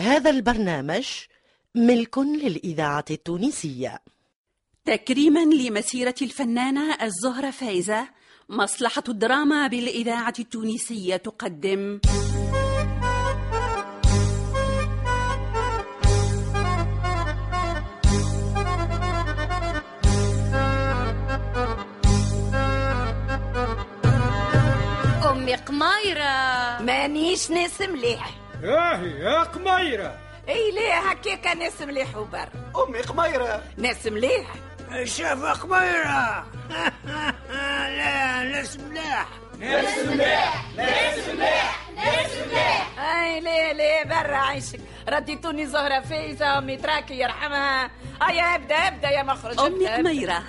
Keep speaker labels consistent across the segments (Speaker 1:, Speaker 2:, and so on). Speaker 1: هذا البرنامج ملك للإذاعة التونسية
Speaker 2: تكريما لمسيرة الفنانة الزهرة فايزة مصلحة الدراما بالإذاعة التونسية تقدم
Speaker 3: أمي قمايرة
Speaker 4: مانيش ناس مليح
Speaker 5: ياهي يا قميرة
Speaker 4: اي ليه هكاك ناس مليح وبر
Speaker 6: أمي قميرة
Speaker 4: ناس مليح
Speaker 7: شاف قميرة لا ناس ملاح
Speaker 4: اي ليه ليه برا عيشك رديتوني زهرة فايزة امي تراكي يرحمها ايا ابدا ابدا يا مخرج
Speaker 2: أمي
Speaker 4: ابدأ، ابدأ.
Speaker 2: قميرة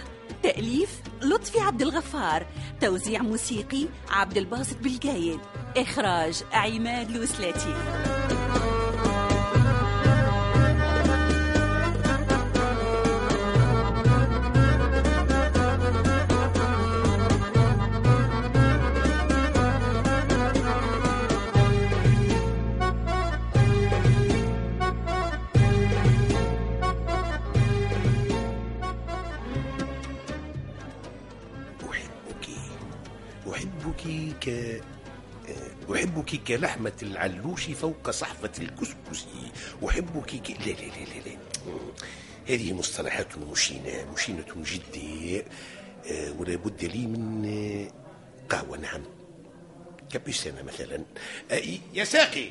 Speaker 2: تأليف لطفي عبد الغفار توزيع موسيقي عبد الباسط بالجايد إخراج عماد لوسلاتي
Speaker 7: أحبك أحبك ك أحبك كلحمة العلوش فوق صحفة الكسكس أحبك ك... لا لا لا لا, لا. هذه مصطلحات مشينة مشينة جدا آه، ولا بد لي من آه، قهوة نعم كابيسانا مثلا آه، يا ساقي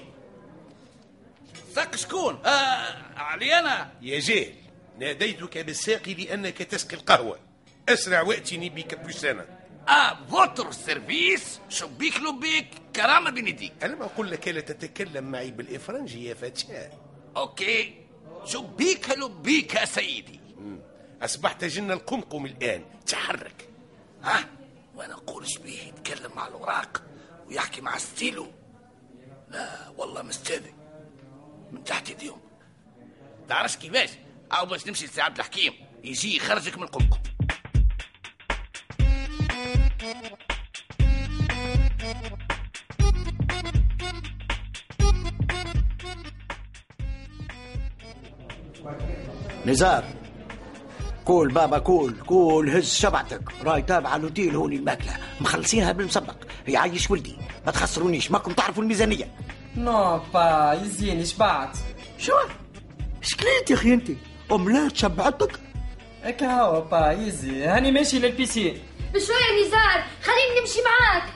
Speaker 6: ساق شكون؟ آه علي أنا
Speaker 7: يا جاهل ناديتك بالساقي لأنك تسقي القهوة أسرع وأتني بكابوسانا
Speaker 6: آه فوتر سيرفيس شبيك لبيك كرامة بنديك
Speaker 7: أنا ما أقول لك لا تتكلم معي بالإفرنجي يا فتاة
Speaker 6: أوكي شبيك لبيك يا سيدي
Speaker 7: أصبحت جن القمقم الآن تحرك
Speaker 6: ها آه وأنا نقولش بيه يتكلم مع الأوراق ويحكي مع ستيلو لا والله مستاذي من تحت يديهم تعرفش كيفاش أو باش نمشي لسي عبد الحكيم يجي يخرجك من القمقم
Speaker 8: نزار كول بابا كول كول هز شبعتك راي تابع الاوتيل هوني الماكله مخلصينها بالمسبق يعيش ولدي ما تخسرونيش ماكم تعرفوا الميزانيه
Speaker 9: نو با يزيني شبعت
Speaker 8: شو شكليت يا اخي انت املات شبعتك
Speaker 9: هكا هو با يزي هاني ماشي للبيسين
Speaker 3: بشوية نزار خليني نمشي معاك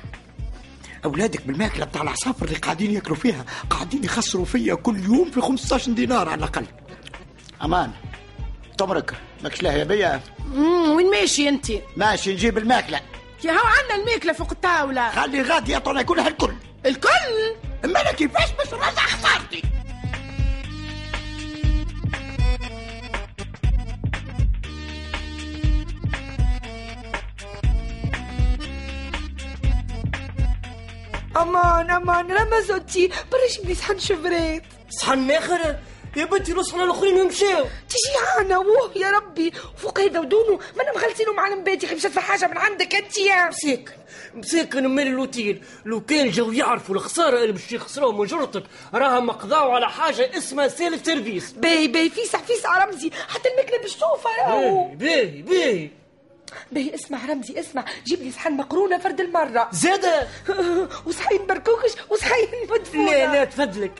Speaker 8: اولادك بالماكله بتاع العصافر اللي قاعدين ياكلوا فيها قاعدين يخسروا فيا كل يوم في 15 دينار على الاقل امان تمرك ماكش لها يا بيا
Speaker 10: امم وين ماشي انت
Speaker 8: ماشي نجيب الماكله
Speaker 10: يا هو عندنا الماكله فوق الطاوله
Speaker 8: خلي غادي يطلع كلها الكل
Speaker 10: الكل
Speaker 8: اما انا كيفاش باش نرجع حصارتي
Speaker 10: امان امان رما زوتي برش بلي صحن شبريت
Speaker 9: صحن اخر يا بنتي روسنا الاخرين ومشاو
Speaker 10: تجي عنا ووه يا ربي فوق هيدا ودونه ما انا مخلصينه مع المبادي مشات في حاجه من عندك انت يا
Speaker 9: مساكن مساكن مال الاوتيل لو كان جاو يعرفوا الخساره اللي باش يخسروها من جرتك راهم مقضاو على حاجه اسمها سيلف سيرفيس
Speaker 10: باهي باهي فيسع فيسع رمزي حتى الماكله باش توفى
Speaker 9: باهي
Speaker 10: راهو
Speaker 9: باهي باهي
Speaker 10: باهي اسمع رمزي اسمع جيب لي صحن مقرونه فرد المره
Speaker 9: زاده
Speaker 10: وصحين بركوكش وصحين مدفونه
Speaker 9: لا لا تفدلك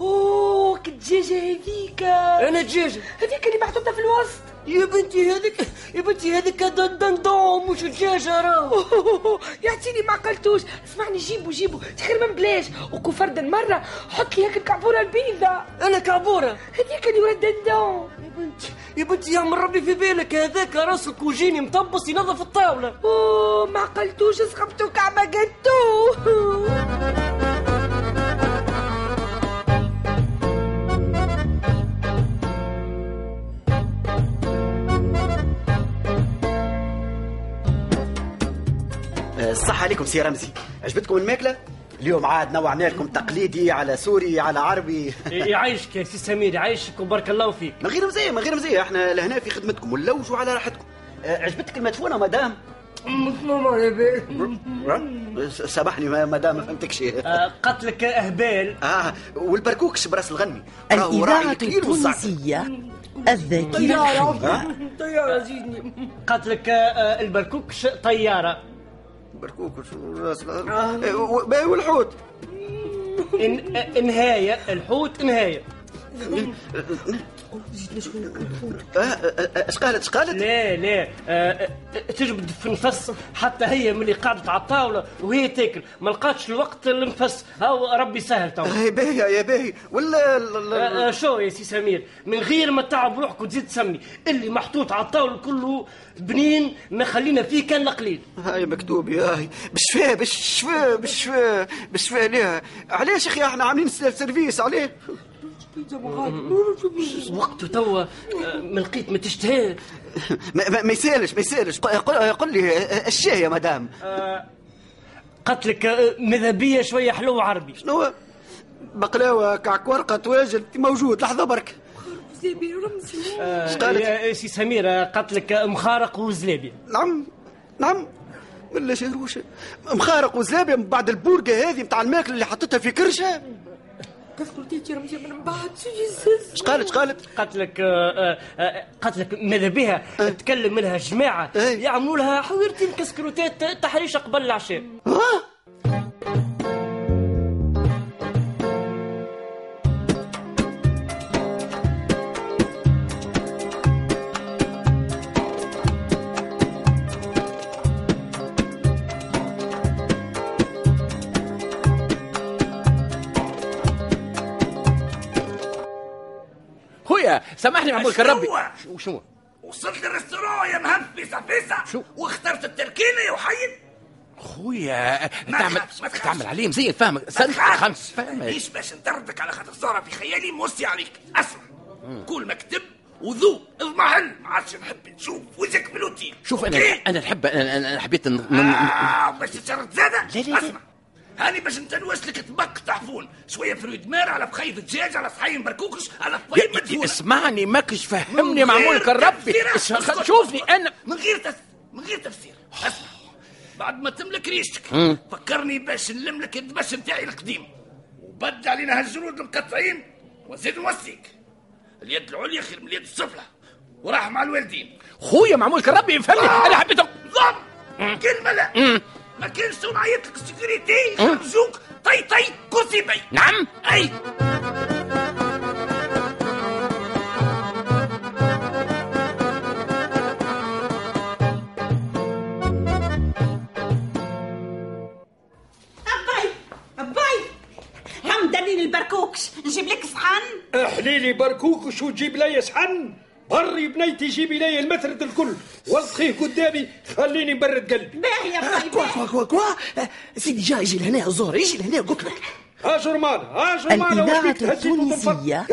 Speaker 10: اوه كدجاجه هذيك
Speaker 9: انا دجاجه
Speaker 10: هذيك اللي محطوطه في الوسط
Speaker 9: يا بنتي هذيك يا بنتي هذيك دن دن دوم مش دجاجه راهو
Speaker 10: أوه، يعطيني ما قلتوش اسمعني جيبو جيبو تخير من بلاش وكو فرد المرة حط لي هاك الكعبورة البيضة
Speaker 9: انا كابوره
Speaker 10: هذيك اللي ولد الدندون
Speaker 9: يا بنتي يا بنتي يا عم ربي في بالك هذاك راسك وجيني مطبس ينظف الطاوله
Speaker 10: اوه ما قلتوش سخبتو كعبة قلتو
Speaker 8: آه، الصحة عليكم سي رمزي عجبتكم الماكلة؟ اليوم عاد نوعنا لكم تقليدي على سوري على عربي
Speaker 9: يعيشك يا سي سمير يعيشك وبارك الله فيك
Speaker 8: من غير مزية من غير مزية احنا لهنا في خدمتكم ونلوجوا على راحتكم آه، عجبتك المدفونة مدام؟
Speaker 10: مصمم على بالي
Speaker 8: سامحني ما ما دام ما فهمتكش
Speaker 9: آه. Uh,
Speaker 8: قتلك اهبال اه والبركوكس براس الغني راهو راعي
Speaker 1: الإذاعة
Speaker 8: الكليل والزعتر.
Speaker 1: التونسية
Speaker 8: طيب،
Speaker 1: الذاكرة الحية
Speaker 8: ها؟
Speaker 9: طيارة زيدني قتلك آه، البركوكش طيارة
Speaker 8: بركوكش وراس إيه، و- باهي والحوت
Speaker 9: إن... آه، نهاية الحوت نهاية
Speaker 8: آه، اسقالت اسقالت
Speaker 9: لا لا آه، آه، تجبد في نفس حتى هي ملي قعدت على الطاولة وهي تاكل ما لقاتش الوقت للنفس هاو ربي سهل تو
Speaker 8: يا باهي يا باهي ولا
Speaker 9: آه، آه، شو يا سي سمير من غير ما تعب روحك وتزيد تسمي اللي محطوط على الطاولة كله بنين ما خلينا فيه كان قليل
Speaker 8: هاي مكتوب يا هاي بالشفاء بالشفاء بالشفاء بالشفاء ليها علاش اخي احنا عاملين سيلف سيرفيس عليه
Speaker 9: وقته توا آه، ما لقيت ما تشتهي
Speaker 8: ما, ما, ما يسالش ما يسالش ق- قل, قل لي آه، الشاي يا مدام
Speaker 9: قتلك آه، مذهبية شوية حلوة عربي
Speaker 8: شنو بقلاوه كعكور قطواجل موجود لحظه برك
Speaker 10: زيبي رمزي
Speaker 9: آه،
Speaker 8: شقالت؟
Speaker 9: يا سي سمير آه، قتلك آه، مخارق وزلابي
Speaker 8: نعم نعم ولا شهروشه مخارق وزلابي من بعد البورقه هذه نتاع الماكله اللي حطيتها في كرشه
Speaker 10: كثر تيجي رمزي من بعد شو يزز
Speaker 8: شقالت شقالت
Speaker 9: قتلك آه، آه، آه، قتلك ماذا بها تكلم منها جماعة يعملوا لها حويرتين كسكروتات تحريش قبل العشاء
Speaker 8: ها
Speaker 11: خويا سامحني معمول كربي
Speaker 6: شنو؟
Speaker 11: وشنو
Speaker 6: وصلت للريستورون يا مهفسه فيسه شو واخترت التركينه يا وحيد
Speaker 11: خويا
Speaker 6: ما
Speaker 11: تعمل
Speaker 6: تخافش، إيه. ما تخافش.
Speaker 11: تعمل عليه مزيان فاهمك سنة خمس فاهمك
Speaker 6: ليش باش نطردك على خاطر سهرة في خيالي موصي عليك اسمع كل ما كتب وذوب اضمحل ما عادش نحب نشوف وجهك في الاوتيل
Speaker 11: شوف انا
Speaker 6: أوكي؟
Speaker 11: انا نحب أنا- انا أنا حبيت ن- ن- ن-
Speaker 6: آه باش تشرد زادة
Speaker 11: لا، لا.
Speaker 6: اسمع هاني باش نتلوث لك طبق طحفون شويه فرويد مار على بخيف دجاج على صحين بركوكش على
Speaker 11: يا-
Speaker 6: طيب مدفونه
Speaker 11: اسمعني ماكش فهمني
Speaker 6: من
Speaker 11: معمول
Speaker 6: غير
Speaker 11: كربي
Speaker 6: تفسير.
Speaker 11: إش-
Speaker 6: اسكت، اسكت،
Speaker 11: شوفني
Speaker 6: اسكت.
Speaker 11: انا
Speaker 6: من غير تفسير من غير تفسير اسمع بعد ما تملك ريشتك
Speaker 11: مم.
Speaker 6: فكرني باش نلم لك الدبش نتاعي القديم وبد علينا هالجنود المقطعين وزيد نوصيك اليد العليا خير من اليد السفلى وراح مع الوالدين
Speaker 11: خويا معمول كربي يفهمني انا حبيت
Speaker 6: ضم كلمه لا ما كانش تو نعيط لك السكيورتي يخرجوك طي طي كوسي بي
Speaker 11: نعم
Speaker 6: اي
Speaker 12: أباي أباي حمدا لي البركوكش نجيب لك صحن
Speaker 5: احليلي بركوكش وجيب لي صحن بري بنيتي جيبي لي المثرد الكل وسخيه قدامي خليني نبرد قلبي
Speaker 12: باهي
Speaker 8: آه،
Speaker 12: يا باي
Speaker 5: كوا كوا كوا كوا
Speaker 8: طيب،
Speaker 5: سيدي جا يجي لهنا الزهر يجي لهنا قلت لك ها جرمان ها جرمان
Speaker 1: الإذاعة التونسية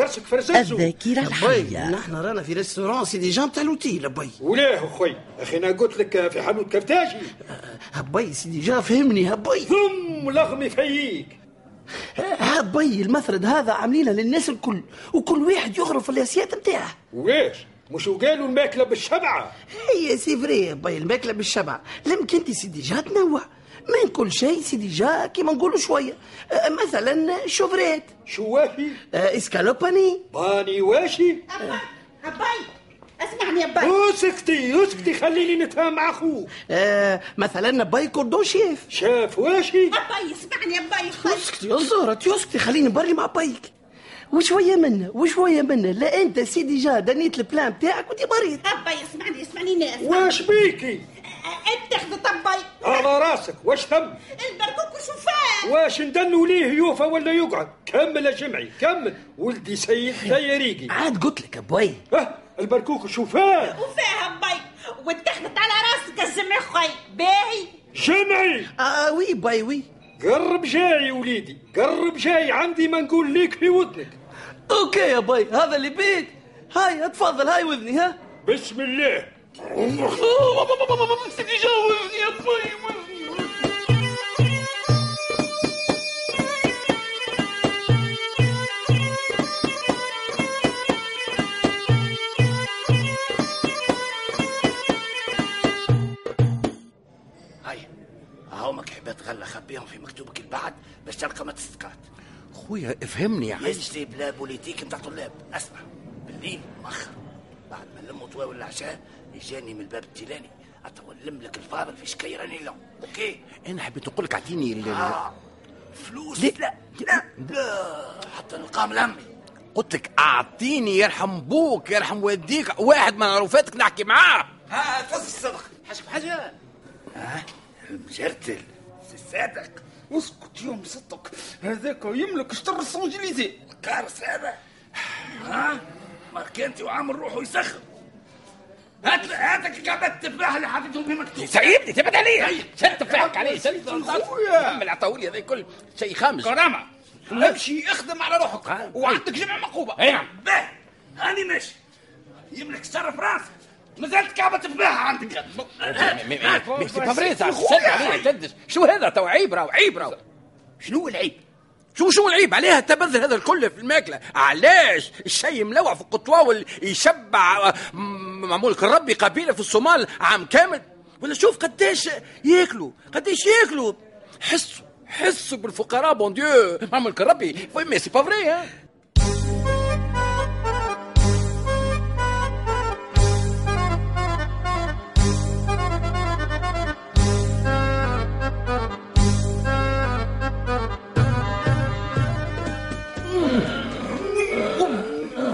Speaker 1: الذاكرة الحية
Speaker 8: نحن رانا في ريستورون سيدي جان تاع لوتيل بي
Speaker 5: ولاه اخوي اخي انا قلت لك في حانوت كفتاجي
Speaker 8: هبي سيدي جا فهمني هبي
Speaker 5: ثم لغمي فيك
Speaker 8: هبي المثرد هذا عاملينه للناس الكل وكل واحد يغرف الاسياد نتاعه
Speaker 5: ويش مش قالوا الماكله بالشبعه
Speaker 8: هي سي فري باي الماكله بالشبع لمك انت سيدي جا تنوع من كل شيء سيدي جا كيما نقولوا شويه آه، مثلا شوفريت أه،
Speaker 5: شوافي
Speaker 8: اسكالوباني
Speaker 5: باني واشي
Speaker 12: أباي اسمعني يا باي
Speaker 5: اسكتي اسكتي خليني نتفاهم مع اخوك
Speaker 8: أه، مثلا باي كوردون شيف
Speaker 5: شاف واشي
Speaker 12: أباي اسمعني يا باي
Speaker 8: اسكتي يا زهرة اسكتي خليني بري مع بايك وشويه منه وشويه منه لا انت سيدي جا دنيت البلان بتاعك وانت مريض
Speaker 12: أباي اسمعني اسمعني ناس
Speaker 5: واش بيكي
Speaker 12: أنت خذت أباي
Speaker 5: على راسك واش تم
Speaker 12: البركوكش وفاه
Speaker 5: واش ندنوا ليه يوفى ولا يقعد كمل يا جمعي كمل ولدي سيد لا يريقي
Speaker 8: عاد قلت لك ابوي
Speaker 5: اه البركوك شوفان
Speaker 12: وفاه أباي واتخذت على راسك الجمع خوي باهي
Speaker 5: جمعي
Speaker 8: اه وي باي وي
Speaker 5: قرب جاي يا وليدي قرب جاي عندي ما نقول ليك في ودنك
Speaker 8: اوكي يا باي هذا اللي بيت هاي اتفضل هاي وذني ها
Speaker 5: بسم الله
Speaker 9: الشرقة ما تستقات
Speaker 6: خويا افهمني عايش
Speaker 9: يجري بلا بوليتيك نتاع طلاب اسمع بالليل مؤخر بعد ما نلموا طواول العشاء يجاني من الباب التيلاني اتوا نلم لك الفاضل في شكي راني لهم اوكي
Speaker 6: انا حبيت نقول لك اعطيني ال-
Speaker 9: آه. فلوس لا لا لا حتى نقام لامي
Speaker 6: قلت لك اعطيني يرحم بوك يرحم والديك واحد من عروفاتك نحكي معاه
Speaker 9: ها فصل الصدق حاجة بحاجة ها المجرتل الصادق اسكت يوم صدق
Speaker 13: هذاك يملك شطر السونجليزي
Speaker 9: كارثة هذا ها ماركانتي وعامل روحه يسخن هات هاتك الكعبات التفاح اللي حاطتهم في مكتوب
Speaker 6: سيبني تبعد عليا
Speaker 9: طيب.
Speaker 6: شد تفاحك عليا شد
Speaker 13: خويا.
Speaker 6: كمل عطاولي هذا كل شيء خامس
Speaker 9: كرامة.
Speaker 13: امشي اخدم على روحك
Speaker 9: وعندك جمع مقوبة
Speaker 6: أي نعم.
Speaker 9: به هاني ماشي يملك شرف راسك مازالت كعبة تفاح عندك أه؟
Speaker 6: ميكسي بابريز شد عليا شدش شو هذا تو عيب راهو عيب راهو
Speaker 9: شنو العيب؟
Speaker 6: شو شو العيب عليها التبذل هذا الكل في الماكله علاش الشيء ملوع في القطواول يشبع آه، م- معمول كربي قبيله في الصومال عام كامل ولا شوف قداش ياكلوا قداش ياكلوا حسوا حسوا بالفقراء بون ديو معمول كربي مي سي با فري ها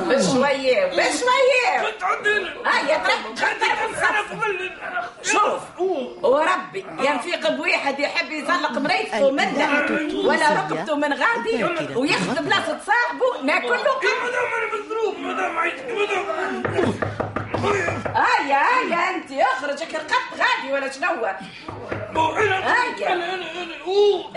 Speaker 10: بشوية بشوية هيا شوف وربي يعني ينفيق بواحد يحب يزلق مريضته منه ولا ركبته من غادي وياخذ بلاصة صاحبه ناكله هيا هيا انت اخرج هيك رقبت غادي ولا شنو هو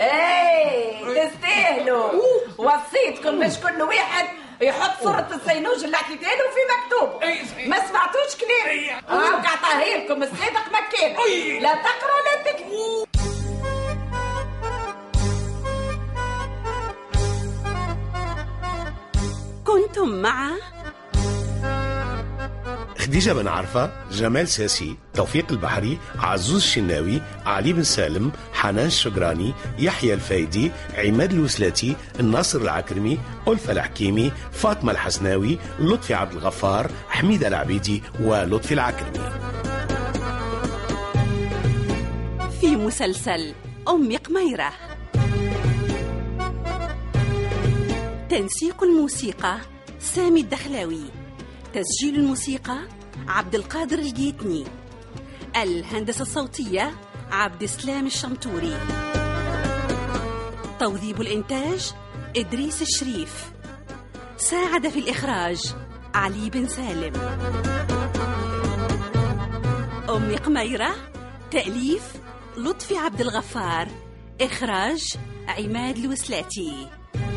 Speaker 10: هيا ايه تستاهلوا وصيتكم باش كل واحد يحط صورة السينوج اللي حكيت له في مكتوبه ما سمعتوش كلامي هاك عطاهي لكم الصادق مكان لا تقرا لا تكتبوا
Speaker 2: كنتم مع
Speaker 7: خديجة بن عرفة جمال ساسي توفيق البحري عزوز الشناوي علي بن سالم حنان الشجراني يحيى الفايدي عماد الوسلاتي الناصر العكرمي ألفة الحكيمي فاطمة الحسناوي لطفي عبد الغفار حميدة العبيدي ولطفي العكرمي
Speaker 2: في مسلسل أم قميرة تنسيق الموسيقى سامي الدخلاوي تسجيل الموسيقى عبد القادر الجيتني الهندسة الصوتية عبد السلام الشمتوري توظيف الإنتاج إدريس الشريف ساعد في الإخراج علي بن سالم أم قميرة تأليف لطفي عبد الغفار إخراج عماد الوسلاتي